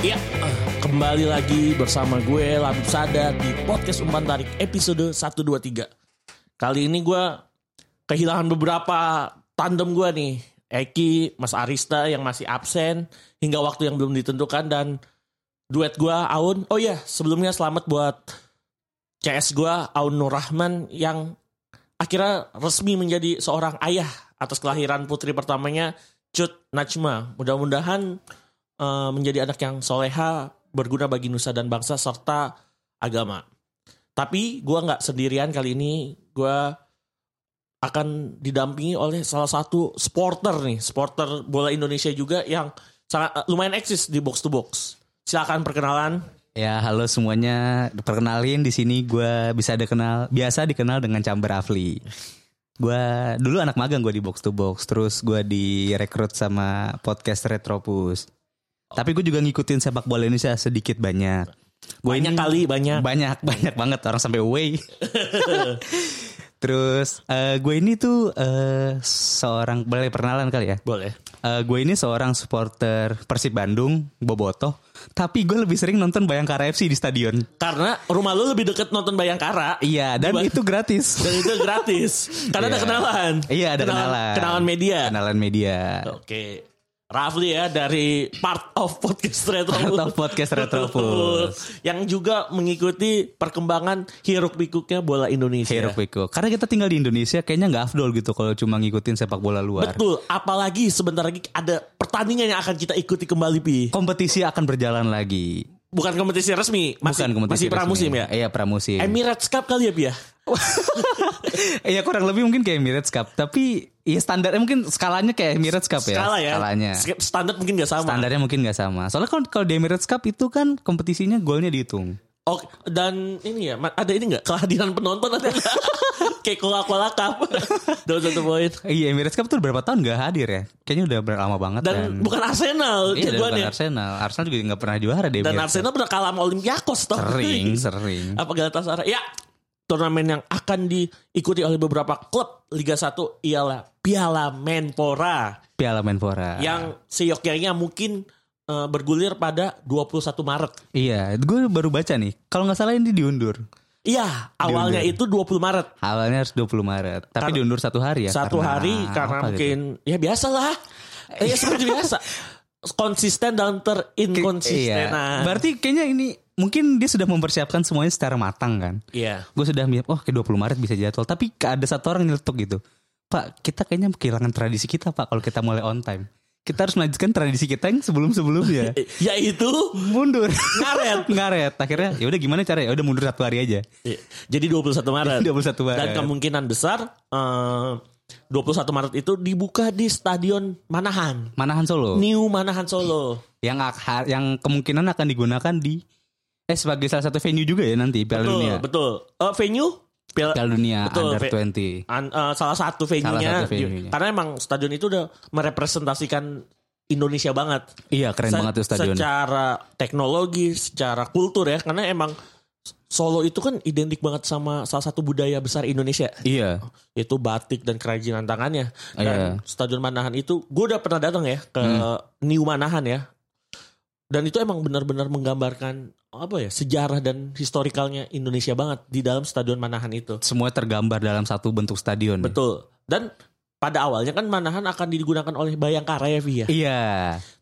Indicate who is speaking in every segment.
Speaker 1: Iya, kembali lagi bersama gue Labib Sada di podcast Umpan Tarik episode 123. Kali ini gue kehilangan beberapa tandem gue nih. Eki, Mas Arista yang masih absen hingga waktu yang belum ditentukan dan duet gue Aun. Oh iya, sebelumnya selamat buat CS gue Aun Nur Rahman yang akhirnya resmi menjadi seorang ayah atas kelahiran putri pertamanya Cut Najma. Mudah-mudahan eh, menjadi anak yang soleha, berguna bagi nusa dan bangsa serta agama. Tapi gua nggak sendirian kali ini, gua akan didampingi oleh salah satu sporter nih, sporter bola Indonesia juga yang sangat eh, lumayan eksis di box to box. Silakan perkenalan.
Speaker 2: Ya halo semuanya, perkenalin di sini gue bisa dikenal biasa dikenal dengan Chamber Afli. Gue dulu anak magang gue di Box to Box, terus gue direkrut sama podcast Retropus. Tapi gue juga ngikutin sepak bola Indonesia sedikit banyak. Gue
Speaker 1: Banyak kali, banyak.
Speaker 2: banyak banyak banget orang sampai away. terus gue ini tuh eh, seorang boleh perkenalan kali ya.
Speaker 1: Boleh.
Speaker 2: Eh, gue ini seorang supporter Persib Bandung, Boboto. Tapi gue lebih sering nonton Bayangkara FC di stadion.
Speaker 1: Karena rumah lu lebih deket nonton Bayangkara.
Speaker 2: Iya,
Speaker 1: Di
Speaker 2: dan
Speaker 1: Ba-
Speaker 2: itu gratis.
Speaker 1: Dan itu gratis. Karena ada
Speaker 2: Iya.
Speaker 1: kenalan.
Speaker 2: Iya, ada kenalan.
Speaker 1: Kenalan media.
Speaker 2: Kenalan media.
Speaker 1: Oke. Rafli ya dari part of podcast Retro
Speaker 2: Part of podcast Retropus.
Speaker 1: yang juga mengikuti perkembangan hiruk pikuknya bola Indonesia.
Speaker 2: Hiruk pikuk. Karena kita tinggal di Indonesia kayaknya nggak afdol gitu kalau cuma ngikutin sepak bola luar.
Speaker 1: Betul, apalagi sebentar lagi ada pertandingan yang akan kita ikuti kembali Pi.
Speaker 2: Kompetisi akan berjalan lagi.
Speaker 1: Bukan kompetisi resmi, masih
Speaker 2: Bukan kompetisi
Speaker 1: masih pramusim
Speaker 2: resmi.
Speaker 1: ya.
Speaker 2: Iya, pramusim.
Speaker 1: Emirates Cup kali ya Pi ya?
Speaker 2: Iya, kurang lebih mungkin kayak Emirates Cup, tapi ya standarnya mungkin skalanya kayak Emirates Cup ya.
Speaker 1: Skala ya.
Speaker 2: Skalanya.
Speaker 1: Sk- Standar mungkin gak sama.
Speaker 2: Standarnya mungkin nggak sama. Soalnya kalau kalau di Emirates Cup itu kan kompetisinya golnya dihitung.
Speaker 1: Oke, dan ini ya, ma- ada ini nggak kehadiran penonton ada nggak? Kayak kola-kola cup. Dapat satu poin.
Speaker 2: Iya, Emirates Cup tuh udah berapa tahun nggak hadir ya? Kayaknya udah ber- lama banget
Speaker 1: Dan
Speaker 2: kan.
Speaker 1: bukan Arsenal ya?
Speaker 2: Iya, dan bukan
Speaker 1: jagoannya.
Speaker 2: Arsenal. Arsenal juga nggak pernah juara deh.
Speaker 1: Dan Arsenal pernah kalah sama Olympiakos toh.
Speaker 2: ya. sering, sering.
Speaker 1: Apa Galatasaray? Ya, turnamen yang akan diikuti oleh beberapa klub Liga 1 ialah Piala
Speaker 2: Ah.
Speaker 1: Menpora
Speaker 2: Piala Menpora.
Speaker 1: yang seyogyanya mungkin eh, bergulir pada 21 Maret.
Speaker 2: Iya, gue baru baca nih. Kalau nggak salah ini diundur.
Speaker 1: Iya, awalnya itu 20 Maret.
Speaker 2: Awalnya harus 20 Maret, tapi
Speaker 1: Karena-
Speaker 2: diundur satu hari ya.
Speaker 1: Satu hari karena
Speaker 2: apa gitu.
Speaker 1: mungkin ya biasalah. Eh, ya seperti biasa. Konsisten dan
Speaker 2: Ki-
Speaker 1: terinkonsistenan.
Speaker 2: Iya. Berarti kayaknya ini mungkin dia sudah mempersiapkan semuanya secara matang kan.
Speaker 1: Iya.
Speaker 2: Gue sudah mi- oh ke 20 Maret bisa jadwal, tapi ke- ada satu orang nyeletuk gitu. Pak, kita kayaknya kehilangan tradisi kita, Pak, kalau kita mulai on time. Kita harus melanjutkan tradisi kita yang sebelum-sebelumnya.
Speaker 1: Eh, Yaitu
Speaker 2: mundur.
Speaker 1: ngaret.
Speaker 2: Ngaret. Akhirnya ya udah gimana caranya? Ya udah mundur satu hari aja.
Speaker 1: Iya. Jadi 21 Maret.
Speaker 2: 21 Maret.
Speaker 1: Dan kemungkinan besar eh, 21 Maret itu dibuka di Stadion Manahan.
Speaker 2: Manahan Solo.
Speaker 1: New Manahan Solo.
Speaker 2: yang ak- yang kemungkinan akan digunakan di eh sebagai salah satu venue juga ya nanti Piala
Speaker 1: betul,
Speaker 2: Dunia.
Speaker 1: betul. Eh, venue? Piala-
Speaker 2: Piala Dunia
Speaker 1: Betul,
Speaker 2: Under
Speaker 1: Fe.
Speaker 2: 20.
Speaker 1: an- eh, salah satu venue-nya. Iya.
Speaker 2: Salah satu venue-nya.
Speaker 1: Karena emang stadion itu udah merepresentasikan Indonesia banget.
Speaker 2: Iya, keren
Speaker 1: Se-
Speaker 2: banget tuh stadionnya.
Speaker 1: Secara teknologi, secara kultur ya. Karena emang Solo itu kan identik banget sama salah satu budaya besar Indonesia.
Speaker 2: Iya.
Speaker 1: itu batik dan kerajinan tangannya dan
Speaker 2: Iya. Hmm.
Speaker 1: stadion Manahan itu gue udah pernah datang ya ke New Manahan ya dan itu emang benar-benar menggambarkan apa ya sejarah dan historikalnya Indonesia banget di dalam stadion Manahan itu
Speaker 2: Semua tergambar dalam satu bentuk stadion.
Speaker 1: betul dan pada awalnya kan Manahan akan digunakan oleh Bayangkara ya Vi ya
Speaker 2: Iya.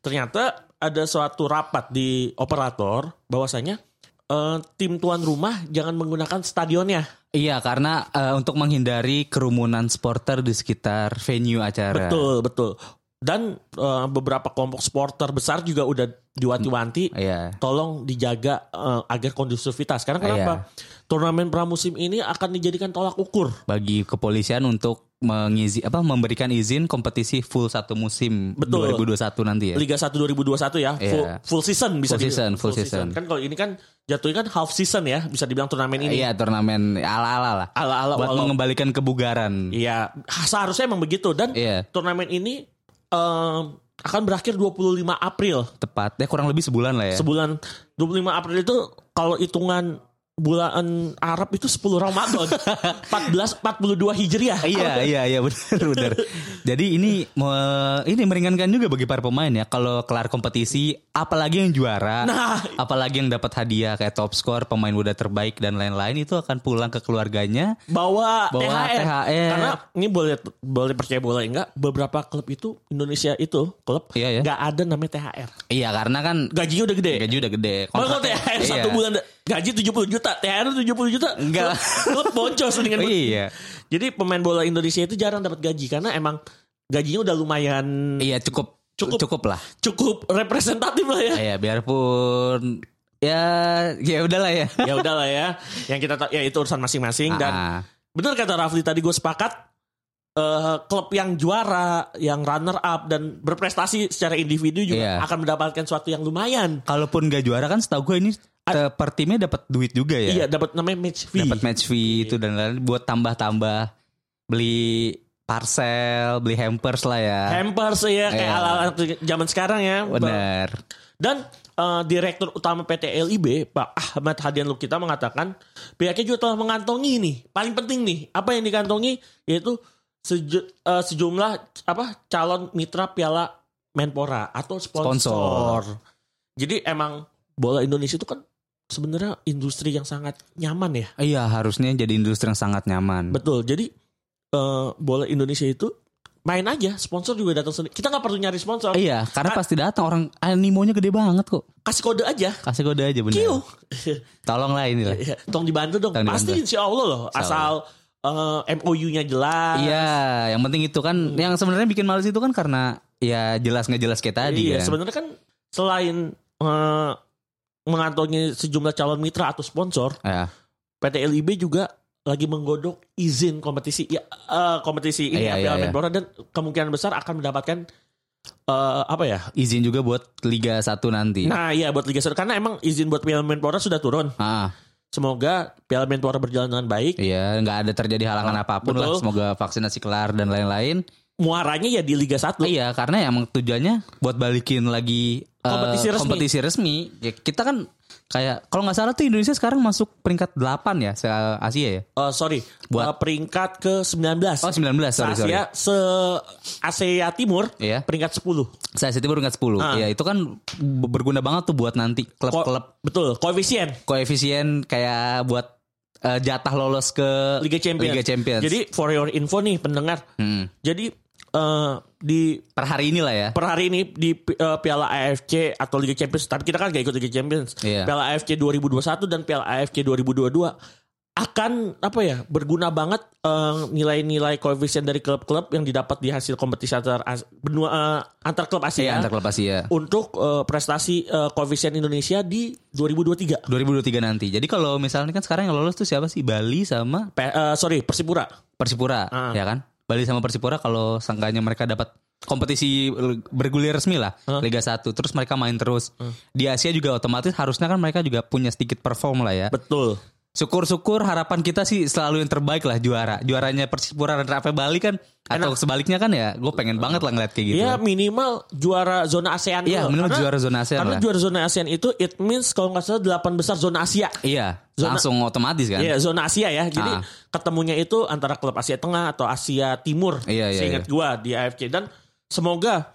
Speaker 1: ternyata ada suatu rapat di operator bahwasanya eh, tim tuan rumah jangan menggunakan stadionnya
Speaker 2: Iya, karena eh, untuk menghindari kerumunan supporter di sekitar venue acara.
Speaker 1: Betul, betul. dan eh, beberapa kelompok supporter besar juga udah diwanti-wanti
Speaker 2: Iya.
Speaker 1: tolong dijaga eh, agar kondusivitas. Karena kenapa? Turnamen pramusim ini akan dijadikan tolak ukur.
Speaker 2: Bagi kepolisian untuk mengizi apa memberikan izin kompetisi full satu musim
Speaker 1: Betul.
Speaker 2: 2021 nanti ya.
Speaker 1: Liga 1 2021 ya, full,
Speaker 2: Iya.
Speaker 1: full season bisa
Speaker 2: Full season,
Speaker 1: dibilang.
Speaker 2: full season.
Speaker 1: Kan kalau ini kan jatuhnya kan half season ya, bisa dibilang turnamen ini.
Speaker 2: Iya turnamen ala-ala lah.
Speaker 1: Ala-ala
Speaker 2: Buat
Speaker 1: walau-
Speaker 2: mengembalikan kebugaran.
Speaker 1: Iya, seharusnya emang begitu dan
Speaker 2: Iya.
Speaker 1: turnamen ini em, akan berakhir 25 April.
Speaker 2: Tepat. Ya kurang lebih sebulan lah ya.
Speaker 1: Sebulan 25 April itu kalau hitungan bulan Arab itu 10 Ramadan. 14 42 Hijriah.
Speaker 2: Iya iya iya benar benar. Jadi ini me- ini meringankan juga bagi para pemain ya kalau kelar kompetisi apalagi yang juara,
Speaker 1: Nah.
Speaker 2: apalagi yang dapat hadiah kayak top skor, pemain muda terbaik dan lain-lain itu akan pulang ke keluarganya.
Speaker 1: Bawa,
Speaker 2: Bawa
Speaker 1: THR.
Speaker 2: THR.
Speaker 1: Karena ini boleh boleh percaya bola enggak? Beberapa klub itu Indonesia itu klub
Speaker 2: Iya, ya.
Speaker 1: nggak ada namanya THR.
Speaker 2: Iya karena kan
Speaker 1: Gajinya udah gede.
Speaker 2: gaji udah gede.
Speaker 1: Malah kalau
Speaker 2: kontraknya-
Speaker 1: THR
Speaker 2: iya.
Speaker 1: ya, satu bulan gaji 70 juta, THR 70 juta.
Speaker 2: Enggak.
Speaker 1: Klub, klub boncos dengan
Speaker 2: Iya.
Speaker 1: Jadi pemain bola Indonesia itu jarang dapat gaji karena emang gajinya udah lumayan
Speaker 2: Iya cukup
Speaker 1: Cukup.
Speaker 2: cukup, lah.
Speaker 1: cukup representatif lah ya.
Speaker 2: Iya biarpun ya ya udahlah ya.
Speaker 1: ya udahlah ya. Yang kita tahu ya itu urusan masing-masing dan
Speaker 2: Ah,
Speaker 1: benar kata Rafli tadi gue sepakat eh, klub yang juara, yang runner up dan berprestasi secara individu juga
Speaker 2: Iya.
Speaker 1: akan mendapatkan suatu yang lumayan.
Speaker 2: kalaupun gak juara kan setahu gue ini eh, per timnya dapat duit juga ya.
Speaker 1: Iya, dapat namanya match fee.
Speaker 2: dapat match fee Iya. itu dan lain-lain buat tambah-tambah beli parcel, beli hampers lah ya.
Speaker 1: Hampers ya kayak
Speaker 2: Iya.
Speaker 1: ala-ala zaman sekarang ya.
Speaker 2: Bener.
Speaker 1: Dan eh, Direktur Utama PT LIB Pak Ahmad Hadian Lukita mengatakan pihaknya juga telah mengantongi nih paling penting nih apa yang dikantongi yaitu seju- eh, sejumlah apa calon mitra Piala Menpora atau sponsor.
Speaker 2: Sponsor.
Speaker 1: Jadi emang bola Indonesia itu kan sebenarnya industri yang sangat nyaman ya.
Speaker 2: Iya harusnya jadi industri yang sangat nyaman.
Speaker 1: Betul. Jadi eh, bola Indonesia itu main aja sponsor juga datang sendiri. Kita nggak perlu nyari sponsor.
Speaker 2: Iya karena
Speaker 1: Ah.
Speaker 2: pasti datang orang animonya gede banget kok.
Speaker 1: Kasih kode aja.
Speaker 2: Kasih kode aja bener.
Speaker 1: Kiu.
Speaker 2: Tolonglah inilah.
Speaker 1: Iya, tolong dibantu dong.
Speaker 2: Tolong
Speaker 1: Pasti
Speaker 2: dibantu.
Speaker 1: insya Allah loh.
Speaker 2: Insya
Speaker 1: Asal eh, MOU-nya jelas.
Speaker 2: Iya, yang penting itu kan,
Speaker 1: Hmm.
Speaker 2: yang sebenarnya bikin males itu kan karena ya jelas nggak jelas kayak tadi
Speaker 1: Iya,
Speaker 2: kan.
Speaker 1: sebenarnya kan selain eh, mengantongi sejumlah calon mitra atau sponsor,
Speaker 2: Ya,
Speaker 1: PT LIB juga lagi menggodok izin kompetisi ya eh, kompetisi ini
Speaker 2: Iya,
Speaker 1: Piala
Speaker 2: iya, iya.
Speaker 1: Menpora dan kemungkinan besar akan mendapatkan eh, apa ya?
Speaker 2: izin juga buat Liga 1 nanti.
Speaker 1: Nah, iya buat Liga 1 karena emang izin buat Piala Menpora sudah turun.
Speaker 2: Ah,
Speaker 1: Semoga Piala Menpora berjalan dengan baik.
Speaker 2: iya, nggak ada terjadi halangan apapun lah.
Speaker 1: Nah, Betul.
Speaker 2: Semoga vaksinasi kelar dan lain-lain.
Speaker 1: Muaranya ya di Liga 1.
Speaker 2: Iya, karena emang tujuannya buat balikin lagi eh,
Speaker 1: Kompetisi resmi.
Speaker 2: kompetisi resmi. Ya, kita kan kayak kalau nggak salah tuh Indonesia sekarang masuk peringkat 8 ya se Asia ya.
Speaker 1: Eh, sorry,
Speaker 2: Buat-
Speaker 1: Eh, peringkat ke 19.
Speaker 2: Oh 19, sorry sorry.
Speaker 1: Asia se Asia Timur
Speaker 2: Iya.
Speaker 1: peringkat 10.
Speaker 2: Saya City peringkat 10.
Speaker 1: Ah.
Speaker 2: Ya, itu kan b- berguna banget tuh buat nanti
Speaker 1: Ko-
Speaker 2: klub-klub
Speaker 1: betul, koefisien eh,
Speaker 2: koefisien kayak buat eh, jatah lolos ke
Speaker 1: Liga Champions.
Speaker 2: Liga Champions.
Speaker 1: Jadi for your info nih pendengar.
Speaker 2: Hmm.
Speaker 1: Jadi eh, di
Speaker 2: per hari inilah ya.
Speaker 1: per hari ini di eh, Piala AFC atau Liga Champions, tapi kita kan gak ikut Liga Champions.
Speaker 2: Iya.
Speaker 1: Piala AFC 2021 dan Piala AFC 2022 akan apa ya berguna banget eh, nilai-nilai koefisien dari klub-klub yang didapat di hasil kompetisi antar as- benua eh, antar klub Asia.
Speaker 2: Iya, antar klub Asia.
Speaker 1: untuk eh, prestasi eh, koefisien Indonesia di 2023.
Speaker 2: 2023 nanti. Jadi kalau misalnya kan sekarang yang lolos tuh siapa sih? Bali sama
Speaker 1: Pe- eh, sorry, Persipura.
Speaker 2: Persipura,
Speaker 1: Ah.
Speaker 2: ya kan? Bali sama Persipura kalau sangkanya mereka dapat kompetisi bergulir resmi lah, Liga 1. Terus mereka main terus. Di Asia juga otomatis harusnya kan mereka juga punya sedikit perform lah ya.
Speaker 1: Betul.
Speaker 2: Syukur-syukur harapan kita sih selalu yang terbaik lah juara. Juaranya Persipura dan Rafael Bali kan atau sebaliknya kan ya, gue pengen banget lah ngeliat kayak gitu.
Speaker 1: Ya minimal juara zona ASEAN.
Speaker 2: Iya,
Speaker 1: dulu.
Speaker 2: minimal
Speaker 1: Karena-
Speaker 2: juara zona ASEAN
Speaker 1: Karena
Speaker 2: lah.
Speaker 1: juara zona ASEAN itu it means kalau nggak salah 8 besar zona Asia.
Speaker 2: Iya,
Speaker 1: Zona-
Speaker 2: langsung otomatis kan.
Speaker 1: Iya, zona Asia ya. Jadi
Speaker 2: Ah.
Speaker 1: ketemunya itu antara klub Asia Tengah atau Asia Timur.
Speaker 2: Iya, iya,
Speaker 1: Seingat gua di AFC dan semoga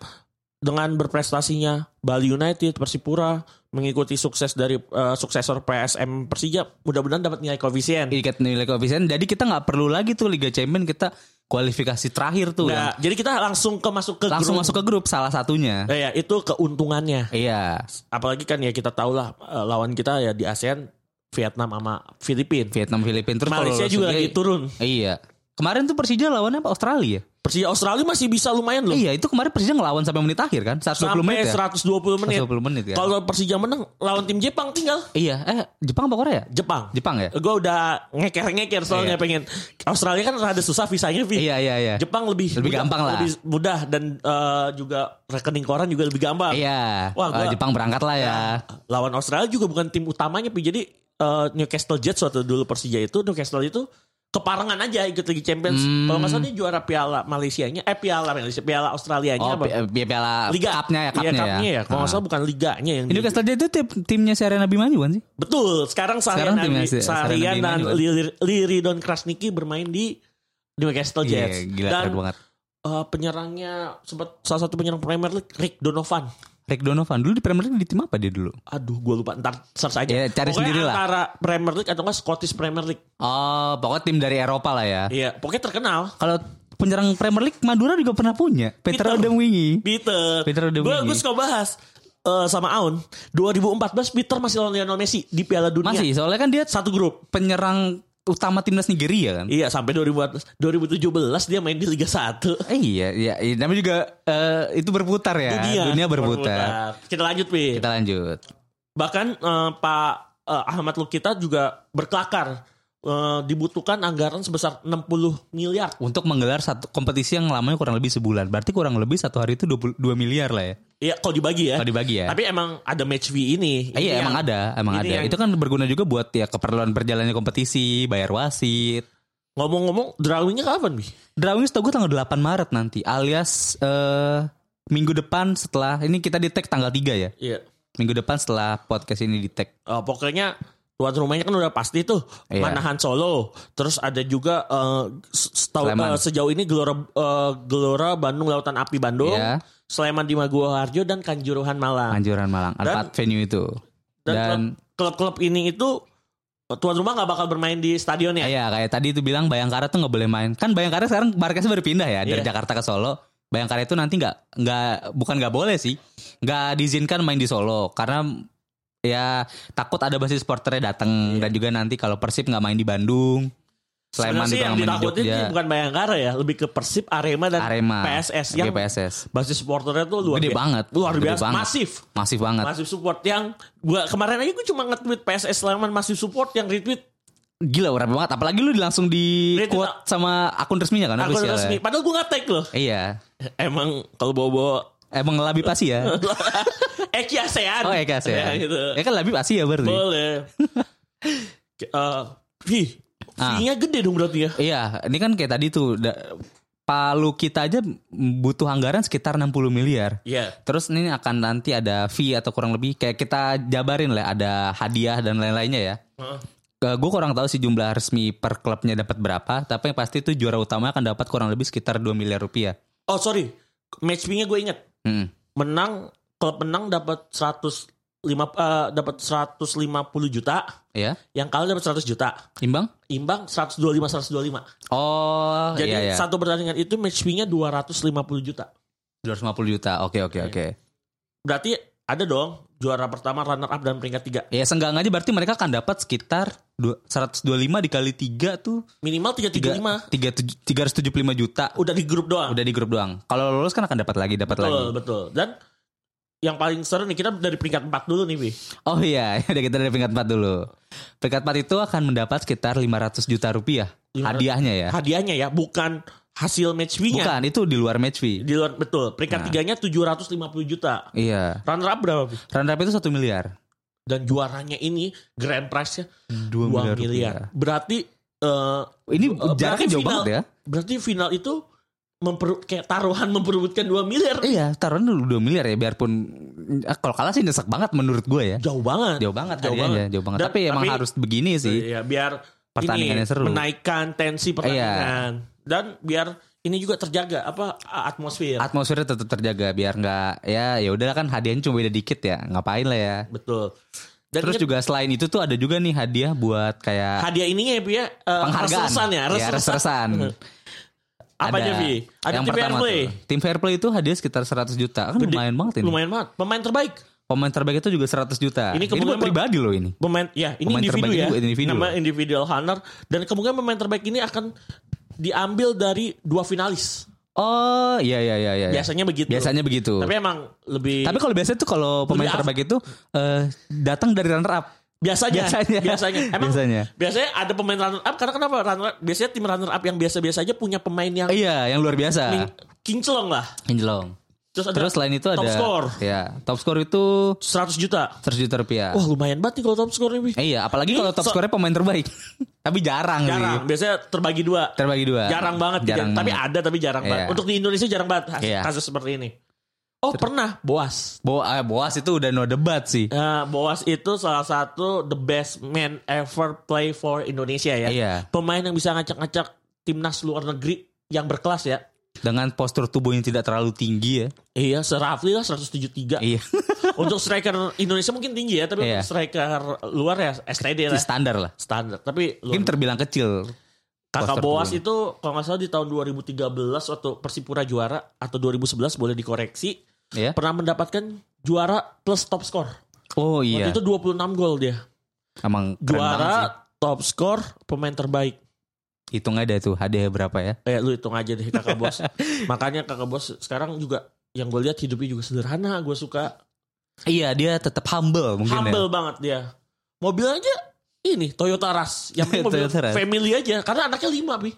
Speaker 1: dengan berprestasinya Bali United, Persipura mengikuti sukses dari eh, suksesor PSM Persija, mudah-mudahan dapat nilai koefisien.
Speaker 2: Ikat nilai koefisien. Jadi kita nggak perlu lagi tuh Liga Champion kita kualifikasi terakhir tuh.
Speaker 1: Nah, jadi kita langsung ke masuk ke
Speaker 2: yang kan? langsung
Speaker 1: grup.
Speaker 2: masuk ke grup salah satunya.
Speaker 1: Eh, ya, itu keuntungannya.
Speaker 2: Iya,
Speaker 1: Apalagi kan ya kita tahu lah eh, lawan kita ya di ASEAN Vietnam sama Filipina.
Speaker 2: Vietnam Filipina terus kalau
Speaker 1: Malaysia
Speaker 2: lolos
Speaker 1: juga gitu.
Speaker 2: lagi-
Speaker 1: lagi turun.
Speaker 2: Iya. Kemarin tuh Persija lawannya apa Australia?
Speaker 1: Persija Australia masih bisa lumayan loh.
Speaker 2: Iya, itu kemarin Persija ngelawan sampai menit akhir kan? 120
Speaker 1: Sampai
Speaker 2: menit ya.
Speaker 1: 120 menit.
Speaker 2: 120 menit ya.
Speaker 1: Kalau Persija menang lawan tim Jepang tinggal
Speaker 2: Iya, eh Jepang apa Korea?
Speaker 1: Jepang.
Speaker 2: Jepang ya?
Speaker 1: Gue udah ngeker-ngeker soalnya
Speaker 2: Iya.
Speaker 1: pengen Australia kan rada susah visanya Vi.
Speaker 2: Iya, iya, iya.
Speaker 1: Jepang lebih
Speaker 2: Lebih
Speaker 1: mudah-
Speaker 2: gampang lah.
Speaker 1: lebih mudah dan eh, juga rekening koran juga lebih gampang.
Speaker 2: Iya.
Speaker 1: Wah, gua- Iya.
Speaker 2: Eh, Jepang berangkat lah ya.
Speaker 1: Lawan Australia juga bukan tim utamanya Pi. Jadi eh, Newcastle Jets waktu dulu Persija itu Newcastle itu keparangan aja ikut Liga Champions.
Speaker 2: Hmm.
Speaker 1: Kalau nggak salah dia juara Piala Malaysianya, eh Piala Malaysia, Piala Australianya
Speaker 2: Oh,
Speaker 1: apa?
Speaker 2: pi- eh, piala
Speaker 1: Iya, Liga
Speaker 2: cupnya ya,
Speaker 1: Iya,
Speaker 2: cupnya ya.
Speaker 1: cupnya ya. Kalau nggak
Speaker 2: Ah.
Speaker 1: salah bukan liganya yang
Speaker 2: Ini
Speaker 1: di-
Speaker 2: Newcastle Jets itu tim, timnya Serena Bimani bukan sih?
Speaker 1: Betul. Sekarang Sarian
Speaker 2: Sekarang
Speaker 1: dan,
Speaker 2: timnya si-
Speaker 1: Sarian
Speaker 2: Sarian
Speaker 1: dan
Speaker 2: Bima juga.
Speaker 1: Lilir- Liridon Krasniki bermain di Newcastle Jets.
Speaker 2: Iya, gila
Speaker 1: dan
Speaker 2: keren banget.
Speaker 1: eh, penyerangnya sempat salah satu penyerang Premier League Rick Donovan.
Speaker 2: Rick Donovan dulu di Premier League di tim apa dia dulu?
Speaker 1: Aduh, gue lupa. Ntar search aja.
Speaker 2: Ya, cari
Speaker 1: Pokoknya
Speaker 2: sendirilah.
Speaker 1: Antara Premier League atau enggak Scottish Premier League.
Speaker 2: Oh, pokoknya tim dari Eropa lah ya.
Speaker 1: Iya, pokoknya terkenal.
Speaker 2: Kalau penyerang Premier League Madura juga pernah punya. Peter Odemwingie.
Speaker 1: Peter.
Speaker 2: Peter udah
Speaker 1: Gue
Speaker 2: bunyi.
Speaker 1: gue suka bahas eh, sama Aun. 2014 Peter masih lawan Lionel Messi di Piala Dunia.
Speaker 2: Masih, soalnya kan dia
Speaker 1: Iya. Satu grup.
Speaker 2: penyerang utama timnas Nigeria kan.
Speaker 1: Iya, sampai 2014. 2017 dia main di Liga 1.
Speaker 2: Eh, iya, iya, iya, namanya juga eh, itu berputar ya. Dunia, berputar.
Speaker 1: Kita lanjut, Pi.
Speaker 2: Kita lanjut.
Speaker 1: Bahkan eh, Pak eh, Ahmad Lukita juga berkelakar. Eh, dibutuhkan anggaran sebesar 60 miliar.
Speaker 2: Untuk menggelar satu kompetisi yang lamanya kurang lebih sebulan. Berarti kurang lebih satu hari itu 22 miliar lah ya.
Speaker 1: Iya, kalau dibagi ya.
Speaker 2: Kalau dibagi ya.
Speaker 1: Tapi emang ada match fee ini.
Speaker 2: Eh,
Speaker 1: Ini
Speaker 2: iya,
Speaker 1: yang-
Speaker 2: emang ada, emang
Speaker 1: ini
Speaker 2: ada.
Speaker 1: yang-
Speaker 2: Itu kan berguna juga buat ya keperluan berjalannya kompetisi, bayar wasit.
Speaker 1: Ngomong-ngomong, drawingnya kapan, Bi?
Speaker 2: Drawing setahu gue tanggal 8 Maret nanti, alias eh minggu depan setelah ini kita di tag tanggal 3 ya.
Speaker 1: Iya.
Speaker 2: Minggu depan setelah podcast ini di tag.
Speaker 1: Eh, pokoknya tuan rumahnya kan udah pasti tuh
Speaker 2: Iya.
Speaker 1: Manahan Solo. Terus ada juga eh, se- setau-
Speaker 2: Sleman.
Speaker 1: eh, sejauh ini Gelora eh, Gelora Bandung Lautan Api Bandung,
Speaker 2: Iya.
Speaker 1: Sleman di Maguwoharjo dan Kanjuruhan Malang.
Speaker 2: Anjuran Malang,
Speaker 1: Nah. Dan-
Speaker 2: empat venue itu.
Speaker 1: Dan,
Speaker 2: Dan,
Speaker 1: klub- klub-klub ini itu eh, tuan rumah nggak bakal bermain di stadion ya.
Speaker 2: ya kayak tadi itu bilang Bayangkara tuh nggak boleh main. Kan Bayangkara sekarang markasnya baru pindah ya dari
Speaker 1: Iya.
Speaker 2: Jakarta ke Solo. Bayangkara itu nanti nggak nggak bukan nggak boleh sih, nggak diizinkan main di Solo karena ya takut ada basis supporternya datang dan juga nanti kalau Persib nggak main di Bandung, Sleman
Speaker 1: Iya. Sebenarnya sih yang
Speaker 2: juga nggak main di
Speaker 1: ditakutin
Speaker 2: Jogja.
Speaker 1: sih bukan Bayangkara ya, lebih ke Persib, Arema dan
Speaker 2: Arema,
Speaker 1: PSS
Speaker 2: Oke,
Speaker 1: yang
Speaker 2: PSS.
Speaker 1: basis supporternya tuh luar
Speaker 2: Gede
Speaker 1: biasa.
Speaker 2: banget.
Speaker 1: Luar
Speaker 2: Gede
Speaker 1: biasa,
Speaker 2: banget.
Speaker 1: masif.
Speaker 2: Masif banget.
Speaker 1: Masif support yang gua kemarin aja gue cuma nge-tweet PSS Sleman masih support yang retweet
Speaker 2: Gila rame banget. Apalagi lu langsung di
Speaker 1: Dia
Speaker 2: quote sama akun resminya kan
Speaker 1: Akun
Speaker 2: official-nya.
Speaker 1: resmi. Padahal gue nggak tag loh.
Speaker 2: Iya.
Speaker 1: Emang kalau bawa-bawa
Speaker 2: Emang labi pasti ya.
Speaker 1: Eki ASEAN.
Speaker 2: Oh Eka sih.
Speaker 1: Ya, gitu.
Speaker 2: Ya kan labi pasti ya berarti.
Speaker 1: Boleh. Ke- eh, Ih,
Speaker 2: Ah.
Speaker 1: fee-nya gede dong berarti ya.
Speaker 2: Iya, ini kan kayak tadi tuh da- Palu kita aja butuh anggaran sekitar 60 miliar.
Speaker 1: Iya.
Speaker 2: Terus ini akan nanti ada fee atau kurang lebih kayak kita jabarin lah ada hadiah dan lain-lainnya ya.
Speaker 1: Heeh.
Speaker 2: gue kurang tahu sih jumlah resmi per klubnya dapat berapa, tapi yang pasti itu juara utama akan dapat kurang lebih sekitar 2 miliar rupiah.
Speaker 1: Oh sorry, match fee-nya gue inget.
Speaker 2: Hmm.
Speaker 1: Menang, klub menang dapat 100 lima eh, dapat 150 juta,
Speaker 2: Ya,
Speaker 1: yang kalah dapat 100 juta.
Speaker 2: imbang?
Speaker 1: Imbang 125 125.
Speaker 2: Oh,
Speaker 1: Jadi
Speaker 2: iya, iya.
Speaker 1: satu pertandingan itu match fee-nya 250 juta.
Speaker 2: 250 juta. Oke, oke, oke.
Speaker 1: Berarti ada dong juara pertama, runner up dan peringkat tiga.
Speaker 2: Ya senggang aja berarti mereka akan dapat sekitar dua- 125 dikali 3 tuh
Speaker 1: Minimal 335.
Speaker 2: 375 juta
Speaker 1: Udah di grup doang.
Speaker 2: udah di grup doang. Kalau lolos kan akan dapat lagi, dapat
Speaker 1: betul,
Speaker 2: lagi.
Speaker 1: betul. Dan yang paling seru nih kita dari peringkat 4 dulu nih, Bi.
Speaker 2: Oh iya, ada kita dari peringkat 4 dulu. Peringkat 4 itu akan mendapat sekitar 500 juta rupiah
Speaker 1: 500
Speaker 2: hadiahnya ya.
Speaker 1: Hadiahnya ya bukan hasil match fee-nya.
Speaker 2: Bukan, Nah. itu di luar match fee.
Speaker 1: Di luar betul. Peringkat tiganya 750 juta.
Speaker 2: Iya.
Speaker 1: Runner up berapa, Bi?
Speaker 2: Runner up itu 1 miliar.
Speaker 1: Dan juaranya ini grand prize-nya
Speaker 2: 2,
Speaker 1: 2 miliar. Berarti eh,
Speaker 2: rupiah. Ini
Speaker 1: Eh, berarti
Speaker 2: jaraknya jauh
Speaker 1: final-
Speaker 2: banget ya.
Speaker 1: berarti final itu memperu kayak taruhan memperebutkan 2 miliar.
Speaker 2: Iya, taruhan dulu 2 miliar ya biarpun eh, kalau kalah sih nyesek banget menurut gue ya.
Speaker 1: Jauh banget.
Speaker 2: Jauh banget
Speaker 1: Jauh
Speaker 2: hadiahnya,
Speaker 1: banget.
Speaker 2: jauh banget.
Speaker 1: Dan-
Speaker 2: tapi emang
Speaker 1: tapi-
Speaker 2: harus begini sih.
Speaker 1: Iya, biar
Speaker 2: Pertandingannya
Speaker 1: ini
Speaker 2: seru. Iya.
Speaker 1: Menaikkan tensi pertandingan dan biar ini juga terjaga apa atmosfer.
Speaker 2: Atmosfernya tetap terjaga biar nggak ya ya udahlah kan hadiahnya cuma beda dikit ya. Ngapain lah ya.
Speaker 1: Betul. Dan
Speaker 2: Terus
Speaker 1: ingat,
Speaker 2: juga selain itu tuh ada juga nih hadiah buat kayak
Speaker 1: hadiah ininya ya, Pi, ya eh,
Speaker 2: penghargaan.
Speaker 1: resesan ya,
Speaker 2: Ya,
Speaker 1: resesan.
Speaker 2: resesan.
Speaker 1: Apa aja, Pi? Ada
Speaker 2: yang
Speaker 1: tim
Speaker 2: pertama
Speaker 1: Fairplay.
Speaker 2: tuh, Tim Fairplay itu hadiah sekitar 100 juta. Kan
Speaker 1: Gede.
Speaker 2: lumayan banget ini.
Speaker 1: Lumayan banget. Pemain terbaik.
Speaker 2: Pemain terbaik itu juga 100 juta.
Speaker 1: Ini
Speaker 2: Ini,
Speaker 1: kemungkinan-
Speaker 2: buat pribadi loh ini.
Speaker 1: Pemain ya, ini
Speaker 2: Pemain
Speaker 1: individu
Speaker 2: terbaik
Speaker 1: ya.
Speaker 2: juga individu.
Speaker 1: Nama individual honor dan kemungkinan pemain terbaik ini akan diambil dari dua finalis.
Speaker 2: Oh iya iya iya iya.
Speaker 1: Biasanya begitu.
Speaker 2: Biasanya begitu.
Speaker 1: gitu. Tapi
Speaker 2: Tapi,
Speaker 1: emang lebih
Speaker 2: kalau biasanya tuh kalau
Speaker 1: Lebih
Speaker 2: pemain
Speaker 1: af-
Speaker 2: terbaik itu eh, datang dari runner up.
Speaker 1: biasanya
Speaker 2: biasanya.
Speaker 1: biasanya. Emang
Speaker 2: Biasanya.
Speaker 1: biasanya ada pemain runner up karena kenapa runner up biasanya tim runner up yang biasa-biasa aja punya pemain yang
Speaker 2: Iya, yang luar biasa.
Speaker 1: kinclong lah.
Speaker 2: Angelong.
Speaker 1: Terus ada
Speaker 2: Terus selain itu ada
Speaker 1: top score
Speaker 2: Ya, top score itu
Speaker 1: 100 juta.
Speaker 2: 100 juta rupiah.
Speaker 1: Wah, lumayan banget nih kalau top score ini.
Speaker 2: Eh, iya, apalagi kalau top
Speaker 1: So-
Speaker 2: skornya pemain terbaik. tapi jarang,
Speaker 1: Jarang,
Speaker 2: sih.
Speaker 1: biasanya terbagi dua.
Speaker 2: Terbagi dua.
Speaker 1: jarang banget
Speaker 2: Jarang. gitu ya.
Speaker 1: tapi ada tapi jarang
Speaker 2: Iya.
Speaker 1: banget untuk di Indonesia jarang banget has-
Speaker 2: Iya.
Speaker 1: kasus seperti ini oh pernah Boas
Speaker 2: Bo- eh, Boas itu udah no debat sih.
Speaker 1: Eh, Boas itu salah satu the best man ever play for Indonesia ya
Speaker 2: Iya.
Speaker 1: pemain yang bisa ngacak-ngacak timnas luar negeri yang berkelas ya
Speaker 2: Dengan postur tubuh yang tidak terlalu tinggi ya.
Speaker 1: Iya, serafli lah 173.
Speaker 2: Iya.
Speaker 1: Untuk striker Indonesia mungkin tinggi ya, tapi
Speaker 2: Iya.
Speaker 1: untuk striker luar ya STD lah
Speaker 2: standar lah.
Speaker 1: standar. Tapi luar
Speaker 2: Mungkin terbilang kecil.
Speaker 1: Kakak
Speaker 2: Poster
Speaker 1: Boas
Speaker 2: dulu.
Speaker 1: itu kalau nggak salah di tahun 2013 waktu Persipura juara atau 2011 boleh dikoreksi
Speaker 2: Ya.
Speaker 1: pernah mendapatkan juara plus top score.
Speaker 2: Oh
Speaker 1: Waktu
Speaker 2: iya.
Speaker 1: itu 26 gol dia.
Speaker 2: Emang keren banget sih.
Speaker 1: Juara, top score, pemain terbaik.
Speaker 2: Hitung aja tuh hadiah berapa ya.
Speaker 1: Eh lu hitung aja deh Kakak Bos. Makanya Kakak Bos sekarang juga yang gue lihat hidupnya juga sederhana, gue suka.
Speaker 2: Iya, dia tetap humble mungkin ya.
Speaker 1: Humble banget dia. Mobil aja ini Toyota Rush. Yang penting mobil
Speaker 2: Toyota Rush.
Speaker 1: family aja karena anaknya lima, Bi.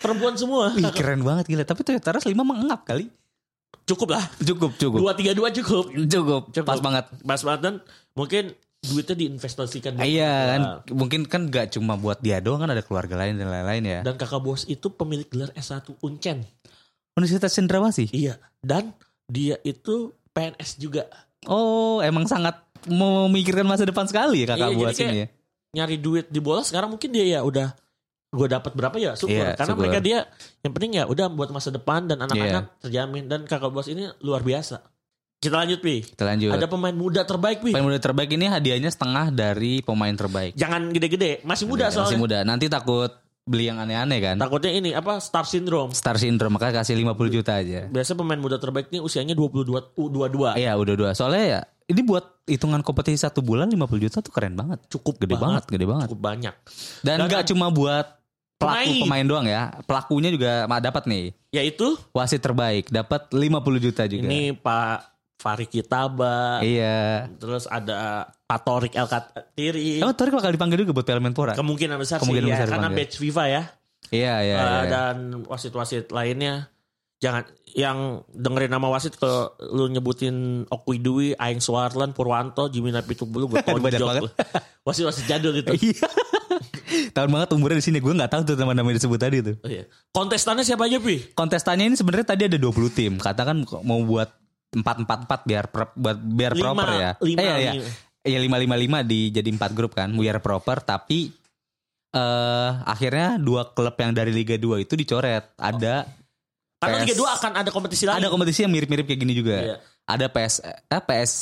Speaker 1: Perempuan semua.
Speaker 2: ya. Ih, keren banget gila. Tapi Toyota Rush 5 mengengap kali.
Speaker 1: Cukup lah.
Speaker 2: Cukup, cukup.
Speaker 1: Dua tiga dua cukup.
Speaker 2: Cukup.
Speaker 1: Cukup.
Speaker 2: Pas banget.
Speaker 1: Mas Martin mungkin duitnya diinvestasikan dulu.
Speaker 2: Iya kan, mungkin kan gak cuma buat dia doang kan ada keluarga lain dan lain-lain ya.
Speaker 1: dan kakak bos itu pemilik gelar S1 Uncen
Speaker 2: Universitas Cendrawasih.
Speaker 1: iya dan dia itu PNS juga
Speaker 2: Oh, emang sangat memikirkan masa depan sekali ya kakak
Speaker 1: Iya,
Speaker 2: buat
Speaker 1: jadi kayak-
Speaker 2: sini ya.
Speaker 1: nyari duit di bola sekarang mungkin dia ya udah gue dapat berapa ya syukur
Speaker 2: Iya,
Speaker 1: karena
Speaker 2: syukur. Iya.
Speaker 1: mereka dia yang penting ya udah buat masa depan dan anak-anak terjamin dan kakak bos ini luar biasa kita lanjut pi
Speaker 2: Kita lanjut.
Speaker 1: ada pemain muda terbaik pi
Speaker 2: Iya. Pemain muda terbaik ini hadiahnya setengah dari pemain terbaik.
Speaker 1: jangan gede-gede masih muda
Speaker 2: Iya, Masih
Speaker 1: soalnya
Speaker 2: muda. Nanti takut beli yang aneh-aneh kan.
Speaker 1: takutnya ini apa star syndrome
Speaker 2: Star Syndrome maka kasih 50 juta aja.
Speaker 1: biasa pemain muda terbaik ini usianya 22 u 22
Speaker 2: Iya, udah dua. Soalnya ya ini buat hitungan kompetisi satu bulan 50 juta tuh keren banget.
Speaker 1: cukup
Speaker 2: Gede banget, gede banget.
Speaker 1: cukup banyak
Speaker 2: Dan
Speaker 1: Dan- kan
Speaker 2: nggak cuma buat
Speaker 1: Pemain.
Speaker 2: pelaku pemain doang ya. Pelakunya juga mah, dapat nih.
Speaker 1: yaitu
Speaker 2: Wasit terbaik dapat 50 juta juga.
Speaker 1: ini Pak Farid Kitaba
Speaker 2: Iya.
Speaker 1: Terus ada Patorik El Katiri.
Speaker 2: Emang Torik bakal dipanggil juga buat Piala Menpora?
Speaker 1: Kemungkinan besar sih
Speaker 2: Kemungkinan
Speaker 1: ya,
Speaker 2: besar
Speaker 1: karena
Speaker 2: dipanggil.
Speaker 1: batch FIFA ya.
Speaker 2: Iya, iya,
Speaker 1: Eh,
Speaker 2: iya. iya.
Speaker 1: Dan wasit-wasit lainnya. Jangan yang dengerin nama wasit ke lu nyebutin Okui Dwi, Aing Suarlan, Purwanto, Jimmy Napitupulu, gue
Speaker 2: Aduh, banyak banget.
Speaker 1: tonjok. lu. Wasit-wasit jadul itu.
Speaker 2: Iya. Tahun banget umurnya di sini gue nggak tahu tuh nama-nama yang disebut tadi tuh.
Speaker 1: Oh, iya. Kontestannya siapa aja, Pi?
Speaker 2: Kontestannya ini sebenarnya tadi ada 20 tim. Katakan mau buat 444 biar per- buat biar
Speaker 1: Lima,
Speaker 2: proper ya.
Speaker 1: lima,
Speaker 2: eh, iya, iya.
Speaker 1: lima.
Speaker 2: Iya 555 di jadi 4 grup kan. Biar proper tapi eh akhirnya dua klub yang dari Liga 2 itu dicoret. Ada
Speaker 1: Karena
Speaker 2: PS.
Speaker 1: Liga 2 akan ada kompetisi lain.
Speaker 2: ada kompetisi yang mirip-mirip kayak gini juga.
Speaker 1: Oh. Iya.
Speaker 2: Ada PS eh, PS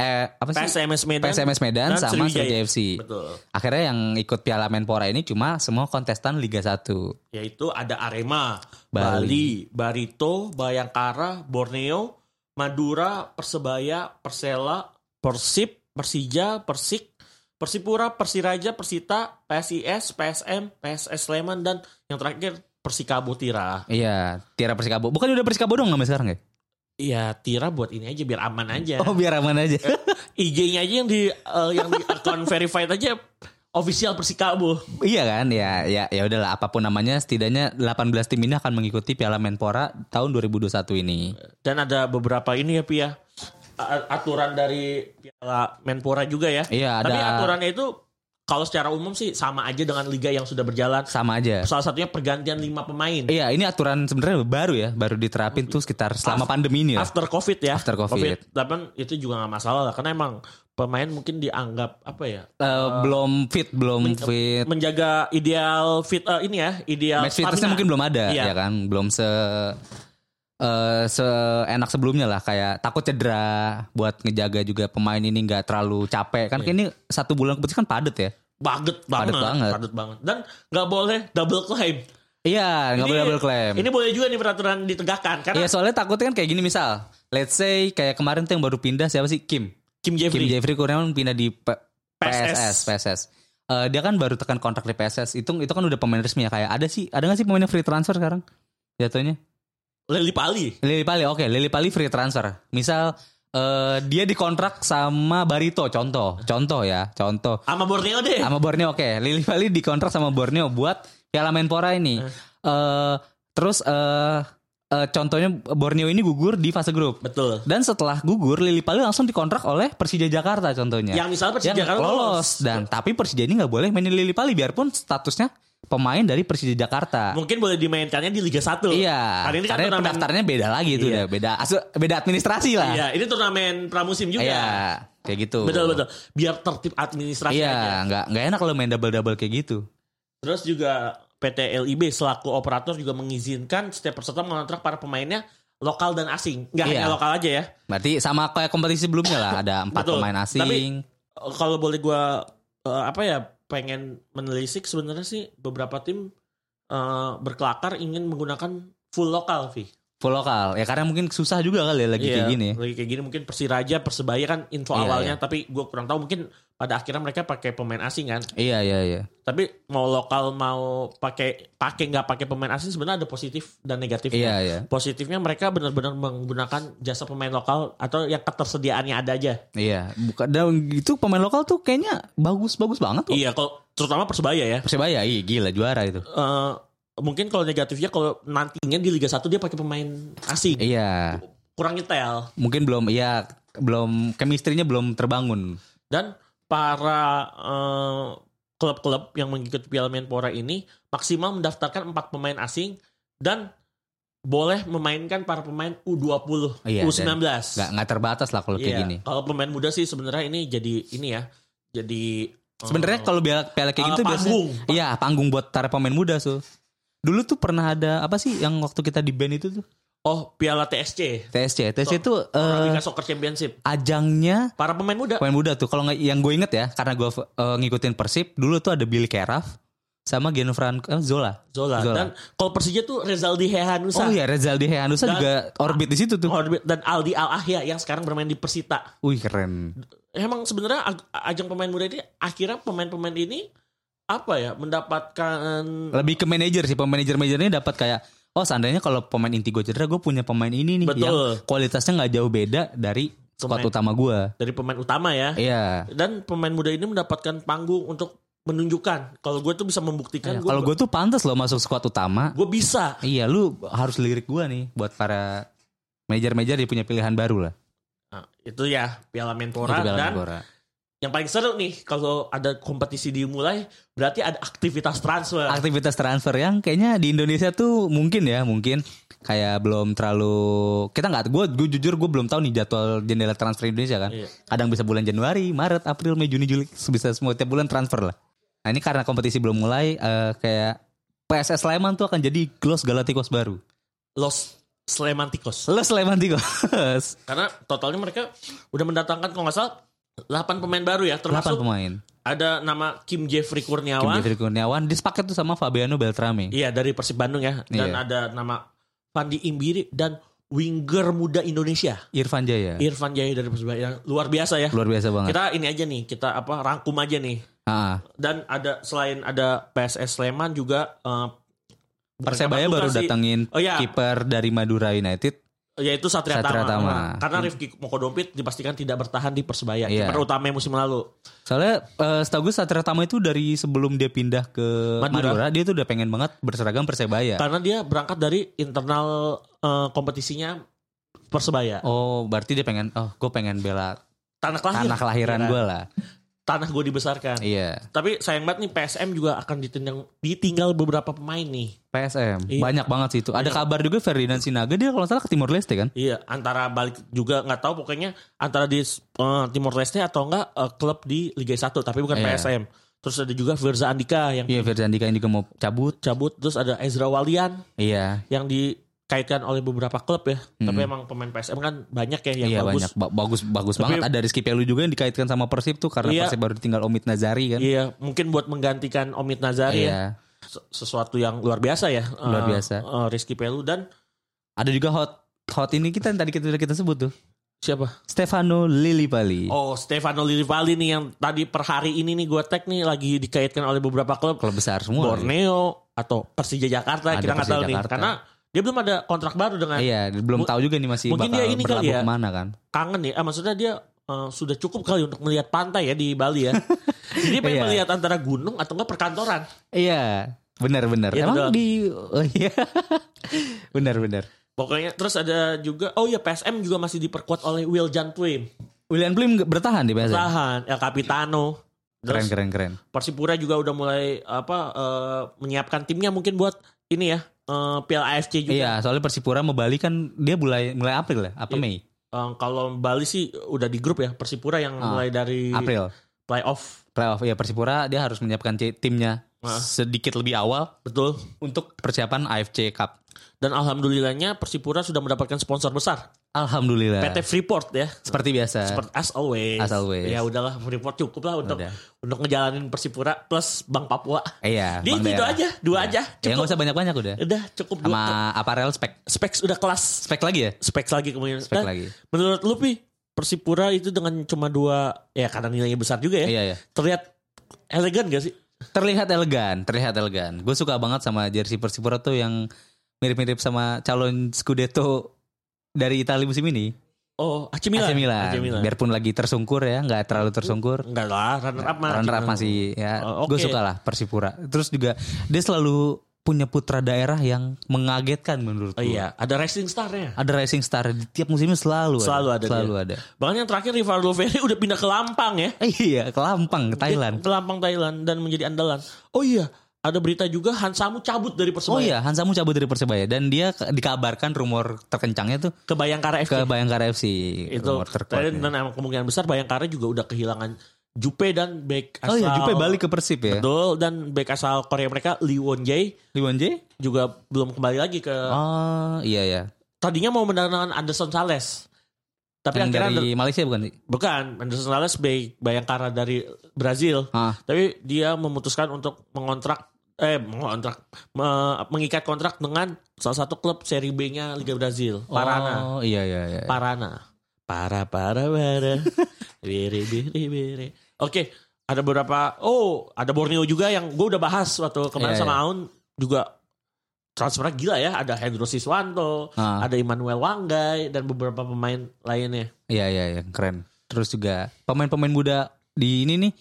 Speaker 2: eh, apa sih?
Speaker 1: PSMS Medan.
Speaker 2: PSMS Medan
Speaker 1: dan
Speaker 2: sama
Speaker 1: Sriwijaya.
Speaker 2: Sriwijaya FC.
Speaker 1: Betul.
Speaker 2: Akhirnya yang ikut Piala Menpora ini cuma semua kontestan Liga 1.
Speaker 1: yaitu ada Arema, Bali,
Speaker 2: Bali.
Speaker 1: Barito, Bayangkara, Borneo, Madura, Persebaya, Persela, Persib, Persija, Persik, Persipura, Persiraja, Persita, PSIS, PSM, PSS Sleman dan yang terakhir Persikabo Tira.
Speaker 2: Iya, Tiara Persikabo. Bukan udah Persikabo dong namanya sekarang ya?
Speaker 1: Iya, Tira buat ini aja biar aman aja.
Speaker 2: Oh, biar aman aja.
Speaker 1: IG-nya aja yang di eh, yang di akun verified aja official Persikabo.
Speaker 2: iya kan? Ya, ya ya udahlah apapun namanya setidaknya 18 tim ini akan mengikuti Piala Menpora tahun 2021 ini.
Speaker 1: Dan ada beberapa ini ya Pia A- aturan dari Piala Menpora juga ya.
Speaker 2: Iya,
Speaker 1: Tapi
Speaker 2: ada-
Speaker 1: aturannya itu kalau secara umum sih sama aja dengan liga yang sudah berjalan.
Speaker 2: Sama aja.
Speaker 1: Salah satunya pergantian lima pemain
Speaker 2: Iya, ini aturan sebenarnya baru ya, baru diterapin tuh sekitar selama pandemi ini ya.
Speaker 1: after COVID ya.
Speaker 2: After COVID.
Speaker 1: Tapi itu juga nggak masalah lah karena emang pemain mungkin dianggap apa ya
Speaker 2: Eh, belum fit, belum fit.
Speaker 1: menjaga ideal fit eh, ini ya ideal
Speaker 2: Iya. Match fitnessnya mungkin belum ada,
Speaker 1: Iya.
Speaker 2: ya kan? Belum se eh, seenak sebelumnya lah kayak takut cedera buat ngejaga juga pemain ini nggak terlalu capek kan
Speaker 1: Iya.
Speaker 2: ini satu bulan kemudian kan padet ya
Speaker 1: Baget banget,
Speaker 2: Padet banget.
Speaker 1: padet banget. Dan nggak boleh double claim.
Speaker 2: Iya, nggak
Speaker 1: Ini-
Speaker 2: boleh double claim.
Speaker 1: Ini boleh juga nih peraturan ditegakkan karena
Speaker 2: Iya, soalnya takutnya kan kayak gini misal, let's say kayak kemarin tuh yang baru pindah siapa sih Kim?
Speaker 1: Kim Jeffrey
Speaker 2: Kim Jeffrey Kurniawan pindah di P- PSS,
Speaker 1: PSS.
Speaker 2: PSS. eh, dia kan baru tekan kontrak di PSS. Itu itu kan udah pemain resmi ya kayak ada sih ada nggak sih pemain yang free transfer sekarang? Jatuhnya
Speaker 1: Lili Pali.
Speaker 2: Lili Pali, oke Lili Pali free transfer. Misal eh, dia dikontrak sama Barito, contoh, contoh ya, contoh.
Speaker 1: Sama Borneo deh.
Speaker 2: Sama Borneo oke. Lili Pali dikontrak sama Borneo buat Piala Menpora ini.
Speaker 1: Eh.
Speaker 2: Eh, terus eh eh, contohnya Borneo ini gugur di fase grup.
Speaker 1: Betul.
Speaker 2: Dan setelah gugur Lili Pali langsung dikontrak oleh Persija Jakarta contohnya.
Speaker 1: Yang misalnya Ya, Persija
Speaker 2: Yang
Speaker 1: Jakarta lolos.
Speaker 2: Iya. dan tapi Persija ini nggak boleh mainin Lili Pali biarpun statusnya pemain dari Persija Jakarta.
Speaker 1: Mungkin boleh dimainkannya di Liga 1.
Speaker 2: Iya.
Speaker 1: Karena ini kan
Speaker 2: Karena
Speaker 1: turnamen.
Speaker 2: pendaftarannya beda lagi itu
Speaker 1: Iya.
Speaker 2: udah beda asu- beda administrasi lah.
Speaker 1: Iya, ini turnamen pramusim juga.
Speaker 2: Iya, kayak gitu.
Speaker 1: Betul betul. Biar tertib administrasi aja.
Speaker 2: Iya, nggak nggak enak kalau main double-double kayak gitu.
Speaker 1: Terus juga PT LIB selaku operator juga mengizinkan setiap peserta mengontrak para pemainnya lokal dan asing. Nggak
Speaker 2: Iya.
Speaker 1: hanya lokal aja ya.
Speaker 2: Berarti sama kayak kompetisi sebelumnya lah, ada empat
Speaker 1: Betul.
Speaker 2: pemain asing.
Speaker 1: Tapi- Eh, Kalau boleh gua eh, apa ya pengen menelisik sebenarnya sih beberapa tim eh, berkelakar ingin menggunakan full lokal, Vi.
Speaker 2: full lokal. Ya karena mungkin susah juga kali ya lagi
Speaker 1: Iya,
Speaker 2: kayak gini.
Speaker 1: Lagi kayak gini mungkin Persiraja, Persebaya kan info
Speaker 2: Iya,
Speaker 1: awalnya, tapi gua kurang tahu mungkin pada akhirnya mereka pakai pemain asing kan.
Speaker 2: Iya iya iya.
Speaker 1: Tapi mau lokal mau pakai pakai nggak pakai pemain asing sebenarnya ada positif dan negatifnya.
Speaker 2: Iya iya.
Speaker 1: positifnya mereka benar-benar menggunakan jasa pemain lokal atau yang ketersediaannya ada aja.
Speaker 2: Iya, bukan dan itu pemain lokal tuh kayaknya bagus-bagus banget kok.
Speaker 1: Iya, kalau terutama persebaya ya.
Speaker 2: Persebaya iya gila juara itu.
Speaker 1: Eh, mungkin kalau negatifnya kalau nantinya di Liga 1 dia pakai pemain asing,
Speaker 2: Iya,
Speaker 1: kurang nyetel
Speaker 2: mungkin belum iya belum chemistry-nya belum terbangun.
Speaker 1: dan para eh, klub-klub yang mengikuti Piala Menpora ini maksimal mendaftarkan empat pemain asing dan boleh memainkan para pemain U20,
Speaker 2: Iya,
Speaker 1: U19.
Speaker 2: Nggak nggak terbatas lah kalau kayak
Speaker 1: Iya,
Speaker 2: gini.
Speaker 1: Kalau pemain muda sih sebenarnya ini jadi ini ya. Jadi eh,
Speaker 2: Sebenarnya kalau piala piala kayak
Speaker 1: Eh,
Speaker 2: gitu biasanya
Speaker 1: panggung.
Speaker 2: iya panggung buat para pemain muda tuh. Dulu tuh pernah ada apa sih yang waktu kita di band itu tuh?
Speaker 1: Oh, Piala TSC.
Speaker 2: TSC. TSC itu
Speaker 1: Liga Soccer Championship.
Speaker 2: eh, ajangnya
Speaker 1: Para pemain muda.
Speaker 2: pemain muda tuh kalau nggak yang gue inget ya karena gue eh, ngikutin persib dulu tuh ada Billy Keraf sama Gianfranco eh, Zola
Speaker 1: Zola.
Speaker 2: Zola.
Speaker 1: Dan kalau Persija tuh Rezaldi Hehanusa.
Speaker 2: oh iya Rezaldi Heanusa
Speaker 1: Dan-
Speaker 2: juga orbit di situ tuh
Speaker 1: Orbit Dan Aldi Al Ahya yang sekarang bermain di Persita.
Speaker 2: wih keren
Speaker 1: Emang sebenarnya ag- ajang pemain muda ini akhirnya pemain-pemain ini apa ya mendapatkan
Speaker 2: lebih ke manajer sih pemain manajer manajernya dapat kayak oh seandainya kalau pemain inti gue cedera gue punya pemain ini nih yang
Speaker 1: betul
Speaker 2: kualitasnya nggak jauh beda dari squad
Speaker 1: Pemain.
Speaker 2: utama gue
Speaker 1: dari pemain utama ya.
Speaker 2: iya
Speaker 1: Dan pemain muda ini mendapatkan panggung untuk menunjukkan kalau gue tuh bisa membuktikan
Speaker 2: Iya,
Speaker 1: gue
Speaker 2: kalau gue tuh pantas loh masuk squad utama
Speaker 1: gue bisa.
Speaker 2: iya lu harus lirik gue nih buat para manajer-manajer yang punya pilihan baru lah
Speaker 1: Nah, itu ya Piala Menpora
Speaker 2: Itu Piala
Speaker 1: dan
Speaker 2: Menpora.
Speaker 1: yang paling seru nih kalau ada kompetisi dimulai berarti ada aktivitas transfer.
Speaker 2: aktivitas transfer yang kayaknya di Indonesia tuh mungkin ya mungkin kayak belum terlalu kita nggak gue gue jujur gue belum tahu nih jadwal jendela transfer Indonesia kan
Speaker 1: Iya.
Speaker 2: kadang bisa bulan Januari Maret April Mei Juni Juli bisa semua tiap bulan transfer lah nah ini karena kompetisi belum mulai eh, kayak PSS Sleman tuh akan jadi Los Galacticos baru
Speaker 1: Los Slemantikos.
Speaker 2: Los Slemanticos
Speaker 1: Karena totalnya mereka udah mendatangkan kalau nggak salah 8 pemain baru ya
Speaker 2: 8
Speaker 1: termasuk
Speaker 2: pemain
Speaker 1: ada nama Kim Jeffrey
Speaker 2: Kim
Speaker 1: Kurniawan.
Speaker 2: Jeffrey Kurniawan dispaket tuh sama Fabiano Beltrame
Speaker 1: Iya dari Persib Bandung ya dan
Speaker 2: Iya.
Speaker 1: ada nama Pandi Imbiri dan winger muda Indonesia
Speaker 2: Irfan Jaya
Speaker 1: Irfan Jaya dari Persibaya yang luar biasa ya.
Speaker 2: Iya. luar biasa banget
Speaker 1: Kita ini aja nih kita apa rangkum aja nih.
Speaker 2: Ah,
Speaker 1: Dan ada selain ada PSS Sleman juga eh,
Speaker 2: Persebaya
Speaker 1: Pertama
Speaker 2: baru
Speaker 1: tuh kasih-
Speaker 2: datengin
Speaker 1: Oh ya,
Speaker 2: kiper dari Madura United
Speaker 1: yaitu Satria,
Speaker 2: Satria
Speaker 1: Tama.
Speaker 2: Tama.
Speaker 1: Karena Rifki Mokodompit dipastikan tidak bertahan di Persebaya.
Speaker 2: Iya.
Speaker 1: Kiper utama musim lalu.
Speaker 2: Soalnya eh, setahu gue Satria Tama itu dari sebelum dia pindah ke
Speaker 1: Madura.
Speaker 2: Madura, dia tuh udah pengen banget berseragam Persebaya.
Speaker 1: Karena dia berangkat dari internal eh, kompetisinya Persebaya.
Speaker 2: Oh, berarti dia pengen oh, gue pengen bela
Speaker 1: Tanah kelahiran.
Speaker 2: tanah kelahiran
Speaker 1: Iya.
Speaker 2: gue lah.
Speaker 1: Tanah gue dibesarkan.
Speaker 2: Iya.
Speaker 1: Tapi sayang banget nih PSM juga akan ditinggal, ditinggal beberapa pemain nih.
Speaker 2: PSM
Speaker 1: Iya.
Speaker 2: banyak banget sih itu. Ada
Speaker 1: Iya.
Speaker 2: kabar juga Ferdinand Sinaga dia kalau nggak salah ke Timor Leste kan?
Speaker 1: Iya, antara balik juga nggak tahu pokoknya antara di eh, Timor Leste atau enggak eh, klub di Liga 1 tapi bukan
Speaker 2: Iya.
Speaker 1: PSM. Terus ada juga Firza Andika yang
Speaker 2: Iya, Ferdinand ini juga mau cabut.
Speaker 1: cabut, terus ada Ezra Walian
Speaker 2: Iya.
Speaker 1: yang dikaitkan oleh beberapa klub ya. Tapi
Speaker 2: Mm.
Speaker 1: emang pemain PSM kan banyak ya yang
Speaker 2: Iya
Speaker 1: bagus.
Speaker 2: banyak Ba- bagus bagus
Speaker 1: Tapi-
Speaker 2: banget. Ada Rizky Pelu juga yang dikaitkan sama Persib tuh karena
Speaker 1: Iya.
Speaker 2: Persib baru ditinggal Omid Nazari kan.
Speaker 1: Iya, mungkin buat menggantikan Omid
Speaker 2: Iya.
Speaker 1: Nazari ya. Se- Sesuatu yang luar biasa ya.
Speaker 2: Luar
Speaker 1: Eh,
Speaker 2: biasa.
Speaker 1: eh, Rizky Pelu dan
Speaker 2: Ada juga hot hot ini kita yang tadi kita kita sebut tuh.
Speaker 1: Siapa?
Speaker 2: Stefano Lillipali.
Speaker 1: Oh, Stefano Lillipali nih yang tadi per hari ini nih gue tag nih lagi dikaitkan oleh beberapa klub.
Speaker 2: Kalau besar semua.
Speaker 1: Borneo atau Persija Jakarta
Speaker 2: iya. Ada
Speaker 1: kita nggak
Speaker 2: Persija
Speaker 1: tahu nih
Speaker 2: Jakarta.
Speaker 1: karena dia belum ada kontrak baru dengan
Speaker 2: Iya,
Speaker 1: Nah,
Speaker 2: belum
Speaker 1: Mu-
Speaker 2: tahu juga nih masih
Speaker 1: mungkin
Speaker 2: bakal
Speaker 1: dia ini kali
Speaker 2: berlabuh
Speaker 1: ya.
Speaker 2: kemana kan.
Speaker 1: kangen ya. Ah, maksudnya dia eh, sudah cukup kali untuk melihat pantai ya di Bali ya. Jadi dia pengen
Speaker 2: Iya.
Speaker 1: melihat antara gunung atau enggak perkantoran.
Speaker 2: Iya, benar-benar.
Speaker 1: Iya, betul.
Speaker 2: Emang di oh iya. benar-benar.
Speaker 1: Pokoknya terus ada juga oh ya PSM juga masih diperkuat oleh Will Jantwin.
Speaker 2: William Blim nggak- bertahan di PSM.
Speaker 1: Tahan El Capitano.
Speaker 2: Iya. Keren
Speaker 1: Terus
Speaker 2: keren keren.
Speaker 1: Persipura juga udah mulai apa eh, menyiapkan timnya mungkin buat ini ya eh, Piala AFC juga.
Speaker 2: Iya, soalnya Persipura mau Bali kan dia mulai mulai April ya, apa
Speaker 1: Iya.
Speaker 2: Mei?
Speaker 1: Eh, kalau Bali sih udah di grup ya Persipura yang
Speaker 2: Ah,
Speaker 1: mulai dari
Speaker 2: April.
Speaker 1: playoff
Speaker 2: Playoff ya Persipura dia harus menyiapkan ti- timnya
Speaker 1: Ah.
Speaker 2: sedikit lebih awal
Speaker 1: betul
Speaker 2: untuk persiapan AFC Cup.
Speaker 1: dan alhamdulillahnya Persipura sudah mendapatkan sponsor besar
Speaker 2: Alhamdulillah.
Speaker 1: PT Freeport ya
Speaker 2: Seperti biasa.
Speaker 1: seperti as always
Speaker 2: Iya. As always.
Speaker 1: ya udahlah Freeport cukup lah untuk
Speaker 2: Udah.
Speaker 1: untuk ngejalanin Persipura plus Bank Papua
Speaker 2: Iya.
Speaker 1: dia
Speaker 2: Bank
Speaker 1: itu
Speaker 2: daerah.
Speaker 1: aja dua
Speaker 2: Iya.
Speaker 1: aja
Speaker 2: Ya nggak
Speaker 1: cukup Iya,
Speaker 2: usah banyak-banyak udah.
Speaker 1: udah cukup dua
Speaker 2: Sama aparel spek.
Speaker 1: speks udah kelas
Speaker 2: Spek lagi ya?
Speaker 1: speks lagi kemudian
Speaker 2: Spek
Speaker 1: Dan
Speaker 2: lagi.
Speaker 1: menurut lu Pi Persipura itu dengan cuma dua ya karena nilainya besar juga ya
Speaker 2: Iya, iya.
Speaker 1: terlihat elegan gak sih
Speaker 2: Terlihat elegan, terlihat elegan. Gue suka banget sama jersey Persipura tuh yang mirip-mirip sama calon Scudetto dari Italia musim ini.
Speaker 1: oh AC
Speaker 2: AC
Speaker 1: Milan Hmm.
Speaker 2: Milan. Biarpun lagi tersungkur ya, nggak terlalu tersungkur.
Speaker 1: Enggak lah, runner up mah.
Speaker 2: Runner up masih ya.
Speaker 1: Oh,
Speaker 2: Gue
Speaker 1: oke.
Speaker 2: suka lah Persipura. Terus juga dia selalu punya putra daerah yang mengagetkan menurut
Speaker 1: Oh,
Speaker 2: gue.
Speaker 1: iya, ada racing star-nya.
Speaker 2: Ada rising star di tiap musimnya selalu
Speaker 1: Selalu ada
Speaker 2: Selalu ada.
Speaker 1: Bahkan yang terakhir Rivaldo Ferry udah pindah ke Lampang ya.
Speaker 2: Eh, Iya, ke Lampang, ke Thailand.
Speaker 1: Ke Lampang Thailand dan menjadi andalan. Oh iya, ada berita juga Hansamu cabut dari Persebaya
Speaker 2: Oh iya, Hansamu cabut dari Persebaya dan dia ke- dikabarkan rumor terkencangnya tuh
Speaker 1: ke Bayangkara
Speaker 2: ke
Speaker 1: FC.
Speaker 2: Bayangkara FC.
Speaker 1: itu
Speaker 2: rumor
Speaker 1: dan,
Speaker 2: terkuatnya.
Speaker 1: dan emang kemungkinan besar Bayangkara juga udah kehilangan Jupe dan back asal
Speaker 2: Oh iya, Jupe balik ke Persib ya.
Speaker 1: Betul dan back asal Korea mereka Lee Won Jae
Speaker 2: Liwon J?
Speaker 1: juga belum kembali lagi ke
Speaker 2: Oh, iya ya.
Speaker 1: tadinya mau mendatangkan Anderson Sales. Tapi
Speaker 2: Yang
Speaker 1: akhirnya
Speaker 2: dari Malaysia bukan sih?
Speaker 1: Ander- bukan Anderson Sales back Bayangkara dari Brazil.
Speaker 2: Ah,
Speaker 1: Tapi dia memutuskan untuk mengontrak eh mengontrak me- mengikat kontrak dengan salah satu klub seri B-nya Liga Brazil, Parana.
Speaker 2: Oh, iya iya iya.
Speaker 1: Parana. Para para para. Biri biri biri. Oke, ada beberapa oh, ada Borneo juga yang gue udah bahas waktu kemarin
Speaker 2: Iya,
Speaker 1: sama
Speaker 2: iya.
Speaker 1: Aun juga transfernya gila ya, ada Hendro Siswanto,
Speaker 2: Ah,
Speaker 1: ada Immanuel Wanggai dan beberapa pemain lainnya.
Speaker 2: iya iya iya, keren. Terus juga pemain-pemain muda di ini nih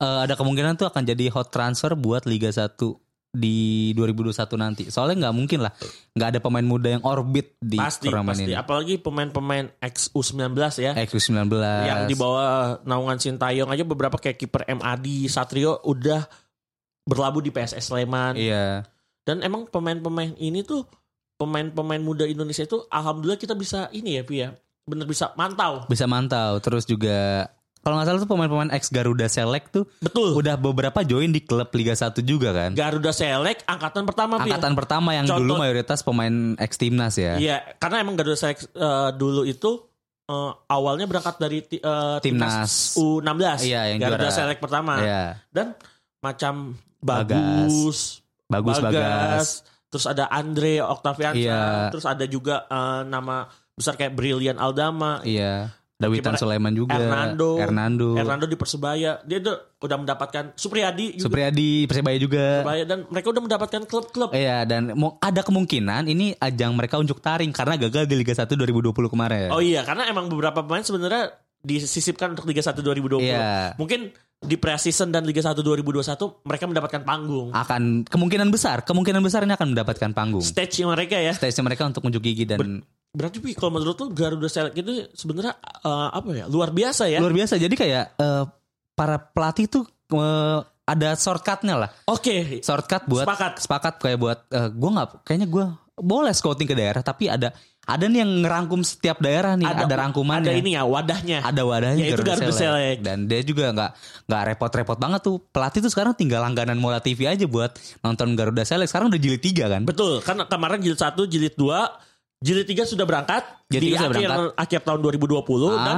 Speaker 2: eh, ada kemungkinan tuh akan jadi hot transfer buat Liga 1 di 2021 nanti. Soalnya nggak mungkin lah nggak ada pemain muda yang orbit di
Speaker 1: pasti
Speaker 2: turnamen
Speaker 1: pasti
Speaker 2: ini.
Speaker 1: apalagi pemain-pemain ex U19 ya.
Speaker 2: XQ19
Speaker 1: yang di bawah naungan Sintayong aja beberapa kayak kiper MAD Satrio udah berlabuh di PSS Sleman
Speaker 2: Iya.
Speaker 1: dan emang pemain-pemain ini tuh pemain-pemain muda Indonesia itu alhamdulillah kita bisa ini ya Pi ya bener bisa mantau
Speaker 2: Bisa mantau. Terus juga kalau nggak salah tuh pemain-pemain ex Garuda Select tuh
Speaker 1: betul
Speaker 2: udah beberapa join di klub Liga 1 juga kan.
Speaker 1: Garuda Select angkatan pertama Pi ya.
Speaker 2: Angkatan pertama yang
Speaker 1: iya. Contoh-
Speaker 2: dulu mayoritas pemain ex timnas ya.
Speaker 1: iya karena emang Garuda Select eh, dulu itu eh, awalnya berangkat dari ti- eh,
Speaker 2: Timnas.
Speaker 1: U16
Speaker 2: Iya, yang
Speaker 1: Garuda
Speaker 2: juara.
Speaker 1: Select pertama
Speaker 2: Iya.
Speaker 1: dan macam
Speaker 2: Bagas.
Speaker 1: bagus
Speaker 2: Bagus
Speaker 1: Bagas,
Speaker 2: bagas.
Speaker 1: terus ada Andre Octaviansa,
Speaker 2: Iya.
Speaker 1: terus ada juga eh, nama besar kayak Brilian Aldama,
Speaker 2: Iya. Dawitan
Speaker 1: Gimana?
Speaker 2: Sulaiman juga.
Speaker 1: Hernando.
Speaker 2: Hernando.
Speaker 1: Hernando di Persebaya, dia udah, udah mendapatkan Supriyadi juga
Speaker 2: Supriyadi Persebaya juga.
Speaker 1: Persebaya dan mereka udah mendapatkan klub-klub.
Speaker 2: Iya dan mau ada kemungkinan ini ajang mereka unjuk taring karena gagal di Liga 1 2020 kemarin.
Speaker 1: Oh iya, karena emang beberapa pemain sebenarnya disisipkan untuk Liga 1 2020.
Speaker 2: Iya.
Speaker 1: Mungkin di preseason dan Liga 1 2021 mereka mendapatkan panggung.
Speaker 2: Akan kemungkinan besar, kemungkinan besar ini akan mendapatkan panggung.
Speaker 1: Stage mereka ya.
Speaker 2: Stage mereka untuk unjuk gigi dan
Speaker 1: Berarti Pi, kalau menurut lu Garuda Select itu sebenarnya eh, apa ya? Luar biasa ya.
Speaker 2: luar biasa. Jadi kayak eh, para pelatih tuh eh, ada shortcutnya lah.
Speaker 1: Oke.
Speaker 2: Shortcut buat
Speaker 1: Sepakat.
Speaker 2: sepakat kayak buat eh, gua nggak kayaknya gua boleh scouting ke daerah tapi ada ada nih yang ngerangkum setiap daerah nih ada, rangkumannya
Speaker 1: Ada ini ya wadahnya.
Speaker 2: ada wadahnya ya.
Speaker 1: Yaitu Garuda Select.
Speaker 2: dan dia juga nggak nggak repot-repot banget tuh pelatih tuh sekarang tinggal langganan Mola TV aja buat nonton Garuda Select sekarang udah jilid 3 kan
Speaker 1: Betul, kan kemarin jilid 1, jilid 2, jilid 3 sudah berangkat
Speaker 2: Jilid
Speaker 1: di
Speaker 2: tiga sudah
Speaker 1: akhir akhir tahun 2020
Speaker 2: Ah.
Speaker 1: dan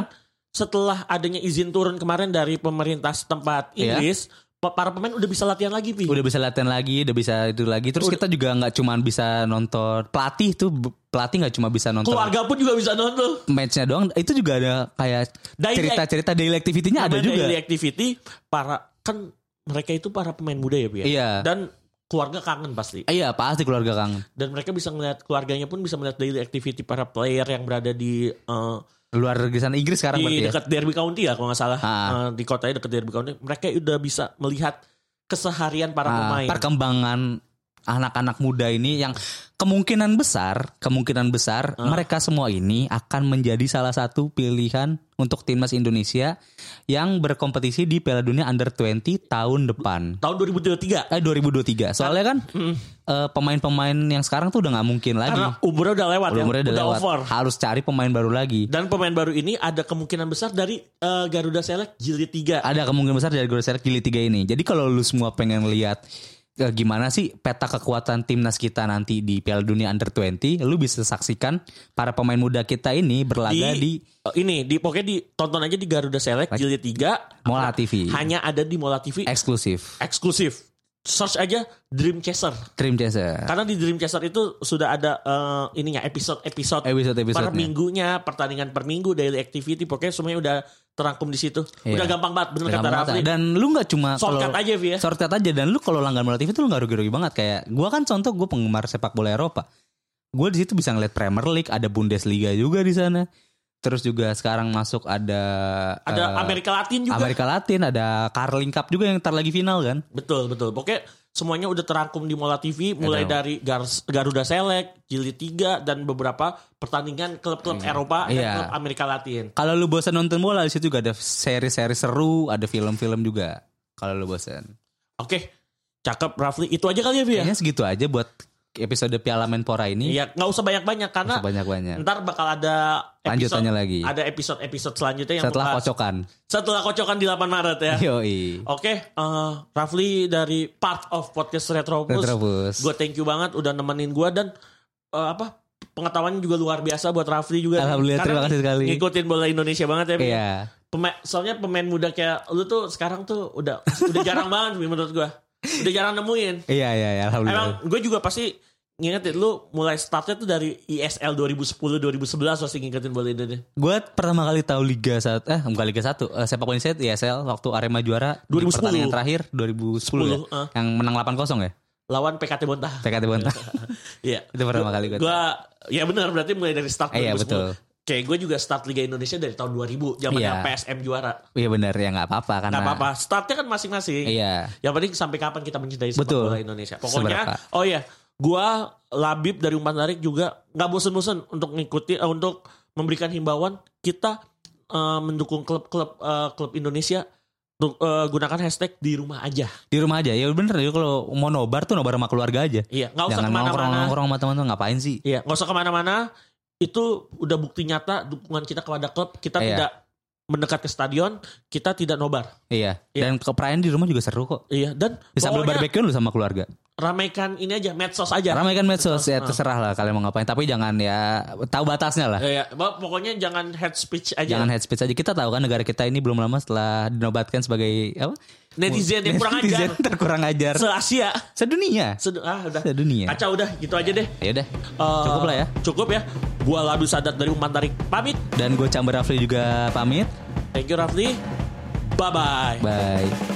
Speaker 1: setelah adanya izin turun kemarin dari pemerintah setempat
Speaker 2: Iya.
Speaker 1: Inggris, para pemain udah bisa latihan lagi, Pi.
Speaker 2: udah bisa latihan lagi, udah bisa itu lagi. Terus kita juga nggak cuman bisa nonton pelatih tuh b- pelatih nggak cuma bisa nonton
Speaker 1: Keluarga pun juga bisa nonton.
Speaker 2: matchnya doang. Itu juga ada kayak
Speaker 1: Daily-
Speaker 2: cerita-cerita daily activity-nya Iya, ada
Speaker 1: Pemain
Speaker 2: juga.
Speaker 1: Daily activity para kan mereka itu para pemain muda ya, Pi. ya?
Speaker 2: Iya.
Speaker 1: Dan keluarga kangen pasti.
Speaker 2: Iya, pasti keluarga kangen.
Speaker 1: Dan mereka bisa ngeliat keluarganya pun bisa melihat daily activity para player yang berada di eh,
Speaker 2: Luar negeri sana Inggris sekarang
Speaker 1: di
Speaker 2: berarti ya.
Speaker 1: dekat Derby County ya kalau nggak salah
Speaker 2: Ah.
Speaker 1: Eh, di kotanya dekat Derby County mereka udah bisa melihat keseharian para
Speaker 2: Nah,
Speaker 1: pemain
Speaker 2: perkembangan anak-anak muda ini yang kemungkinan besar,
Speaker 1: Ah.
Speaker 2: kemungkinan besar mereka semua ini akan menjadi salah satu pilihan untuk timnas Indonesia yang berkompetisi di Piala Dunia Under 20 tahun depan.
Speaker 1: tahun 2023
Speaker 2: Eh 2023. Soalnya kan
Speaker 1: Hmm.
Speaker 2: eh, pemain-pemain yang sekarang tuh udah nggak mungkin lagi.
Speaker 1: karena umurnya udah lewat ya
Speaker 2: Umurnya udah lewat.
Speaker 1: over
Speaker 2: Harus cari pemain baru lagi.
Speaker 1: dan pemain baru ini ada kemungkinan besar dari eh, Garuda Select jilid 3
Speaker 2: Ada kemungkinan besar dari Gol Select Jilid 3 ini. Jadi kalau lu semua pengen lihat eh, gimana sih peta kekuatan timnas kita nanti di Piala Dunia Under 20, lu bisa saksikan para pemain muda kita ini berlaga di,
Speaker 1: eh, ini di pokoknya di tonton aja di Garuda Select jilid 3
Speaker 2: Mola TV.
Speaker 1: hanya ada di Mola TV
Speaker 2: Eksklusif.
Speaker 1: eksklusif search aja Dream Chaser
Speaker 2: Dream Chaser.
Speaker 1: karena di Dream Chaser itu sudah ada eh, ininya episode-episode per
Speaker 2: Episode-episodenya.
Speaker 1: minggunya pertandingan per minggu daily activity pokoknya semuanya udah terangkum di situ
Speaker 2: Iya.
Speaker 1: udah gampang banget bener
Speaker 2: Udah
Speaker 1: kata
Speaker 2: gampang
Speaker 1: Rafli
Speaker 2: banget. Dan lu nggak cuma
Speaker 1: shortcut
Speaker 2: kalau-
Speaker 1: aja Vi ya
Speaker 2: Shortcut aja dan lu kalau langganan Mola TV itu lu nggak rugi-rugi banget kayak gua kan contoh gue penggemar sepak bola Eropa. Gue di situ bisa ngeliat Premier League, ada Bundesliga juga di sana. Terus juga sekarang masuk ada
Speaker 1: ada
Speaker 2: eh,
Speaker 1: Amerika Latin juga
Speaker 2: Amerika Latin, ada Carling Cup juga yang ntar lagi final kan.
Speaker 1: betul betul pokoknya semuanya udah terangkum di Mola TV mulai
Speaker 2: Betul.
Speaker 1: dari Gar- Garuda Select Jilid 3 dan beberapa pertandingan klub-klub Eropa dan
Speaker 2: Iya.
Speaker 1: klub Amerika Latin
Speaker 2: Kalau lu bosan nonton bola di situ juga ada seri-seri seru, ada film-film juga. Kalau lu bosan.
Speaker 1: oke cakep Rafli itu aja kali ya Vi ya
Speaker 2: Kayaknya segitu aja buat episode Piala Menpora ini.
Speaker 1: Iya, nggak usah banyak-banyak karena
Speaker 2: Sebanyak-banyak.
Speaker 1: ntar bakal ada episode,
Speaker 2: Lanjutannya lagi.
Speaker 1: ada episode-episode selanjutnya yang
Speaker 2: Setelah Iya.
Speaker 1: membahas-
Speaker 2: kocokan.
Speaker 1: setelah kocokan di 8 Maret ya.
Speaker 2: Yoi.
Speaker 1: Oke, eh, Rafli dari part of podcast Retropus.
Speaker 2: Retropus.
Speaker 1: Gue thank you banget udah nemenin gue dan eh, apa pengetahuan juga luar biasa buat Rafli juga. nih.
Speaker 2: Alhamdulillah,
Speaker 1: Karena
Speaker 2: terima kasih sekali.
Speaker 1: Ngikutin bola Indonesia banget ya. Bi.
Speaker 2: Iya.
Speaker 1: Pema- soalnya pemain muda kayak lu tuh sekarang tuh udah udah jarang banget Bi, menurut gue. Udah jarang nemuin.
Speaker 2: Iya, iya, iya. Alhamdulillah.
Speaker 1: Emang gue juga pasti ngingetin lu mulai startnya tuh dari ISL 2010-2011 pasti ngingetin bola Indonesia.
Speaker 2: Gue pertama kali tahu Liga 1 eh bukan Liga 1, eh, sepak bola Indonesia ESL waktu Arema juara di
Speaker 1: 2010.
Speaker 2: pertandingan terakhir 2010
Speaker 1: 10,
Speaker 2: ya.
Speaker 1: eh.
Speaker 2: Yang menang 8-0 ya.
Speaker 1: Lawan PKT Bontang.
Speaker 2: PKT Bontang.
Speaker 1: Iya.
Speaker 2: Itu pertama kali gue.
Speaker 1: Gua ya benar berarti mulai dari start
Speaker 2: Eh, iya,
Speaker 1: 2010.
Speaker 2: betul.
Speaker 1: Kayak gue juga start Liga Indonesia dari tahun 2000 zamannya
Speaker 2: Iya.
Speaker 1: PSM juara.
Speaker 2: Iya benar ya nggak apa-apa karena
Speaker 1: Gak apa-apa. Startnya kan masing-masing.
Speaker 2: Iya.
Speaker 1: Yang penting sampai kapan kita mencintai sepak
Speaker 2: Betul.
Speaker 1: bola Indonesia. Pokoknya
Speaker 2: Seberapa.
Speaker 1: oh iya, gua Labib dari Umpan Tarik juga nggak bosen-bosen untuk ngikuti eh, untuk memberikan himbauan kita eh, mendukung klub-klub eh, klub Indonesia untuk eh, gunakan hashtag di rumah aja.
Speaker 2: Di rumah aja. Ya bener ya kalau mau nobar tuh nobar sama keluarga aja.
Speaker 1: Iya, nggak usah
Speaker 2: Jangan nongkrong
Speaker 1: kemana-mana.
Speaker 2: nongkrong sama teman-teman ngapain sih?
Speaker 1: Iya, nggak usah kemana-mana. Itu udah bukti nyata dukungan kita kepada klub. Kita
Speaker 2: Iya.
Speaker 1: tidak mendekat ke stadion, kita tidak nobar.
Speaker 2: Iya.
Speaker 1: Iya.
Speaker 2: Dan keperayaan di rumah juga seru kok.
Speaker 1: Iya, dan
Speaker 2: Bisa sambil
Speaker 1: pokoknya
Speaker 2: barbekyun lu sama keluarga.
Speaker 1: ramaikan ini aja medsos aja.
Speaker 2: Ramai kan medsos
Speaker 1: Ah.
Speaker 2: ya terserah lah kalian mau ngapain tapi jangan ya tahu batasnya lah.
Speaker 1: Iya, pok- pokoknya jangan head speech aja.
Speaker 2: Jangan head speech aja. Kita tahu kan negara kita ini belum lama setelah dinobatkan sebagai apa?
Speaker 1: Netizen yang kurang
Speaker 2: Netizen
Speaker 1: ajar.
Speaker 2: terkurang ajar.
Speaker 1: Se Asia.
Speaker 2: Sedunia.
Speaker 1: Sedu- ah, udah.
Speaker 2: Sedunia.
Speaker 1: Kacau udah, gitu aja deh.
Speaker 2: Ya udah.
Speaker 1: Eh,
Speaker 2: Cukup lah ya.
Speaker 1: Cukup ya. Gua Labu Sadat dari Umpan Tarik. Pamit.
Speaker 2: Dan gue Chamber Rafli juga pamit.
Speaker 1: Thank you Rafli. Bye-bye.
Speaker 2: Bye.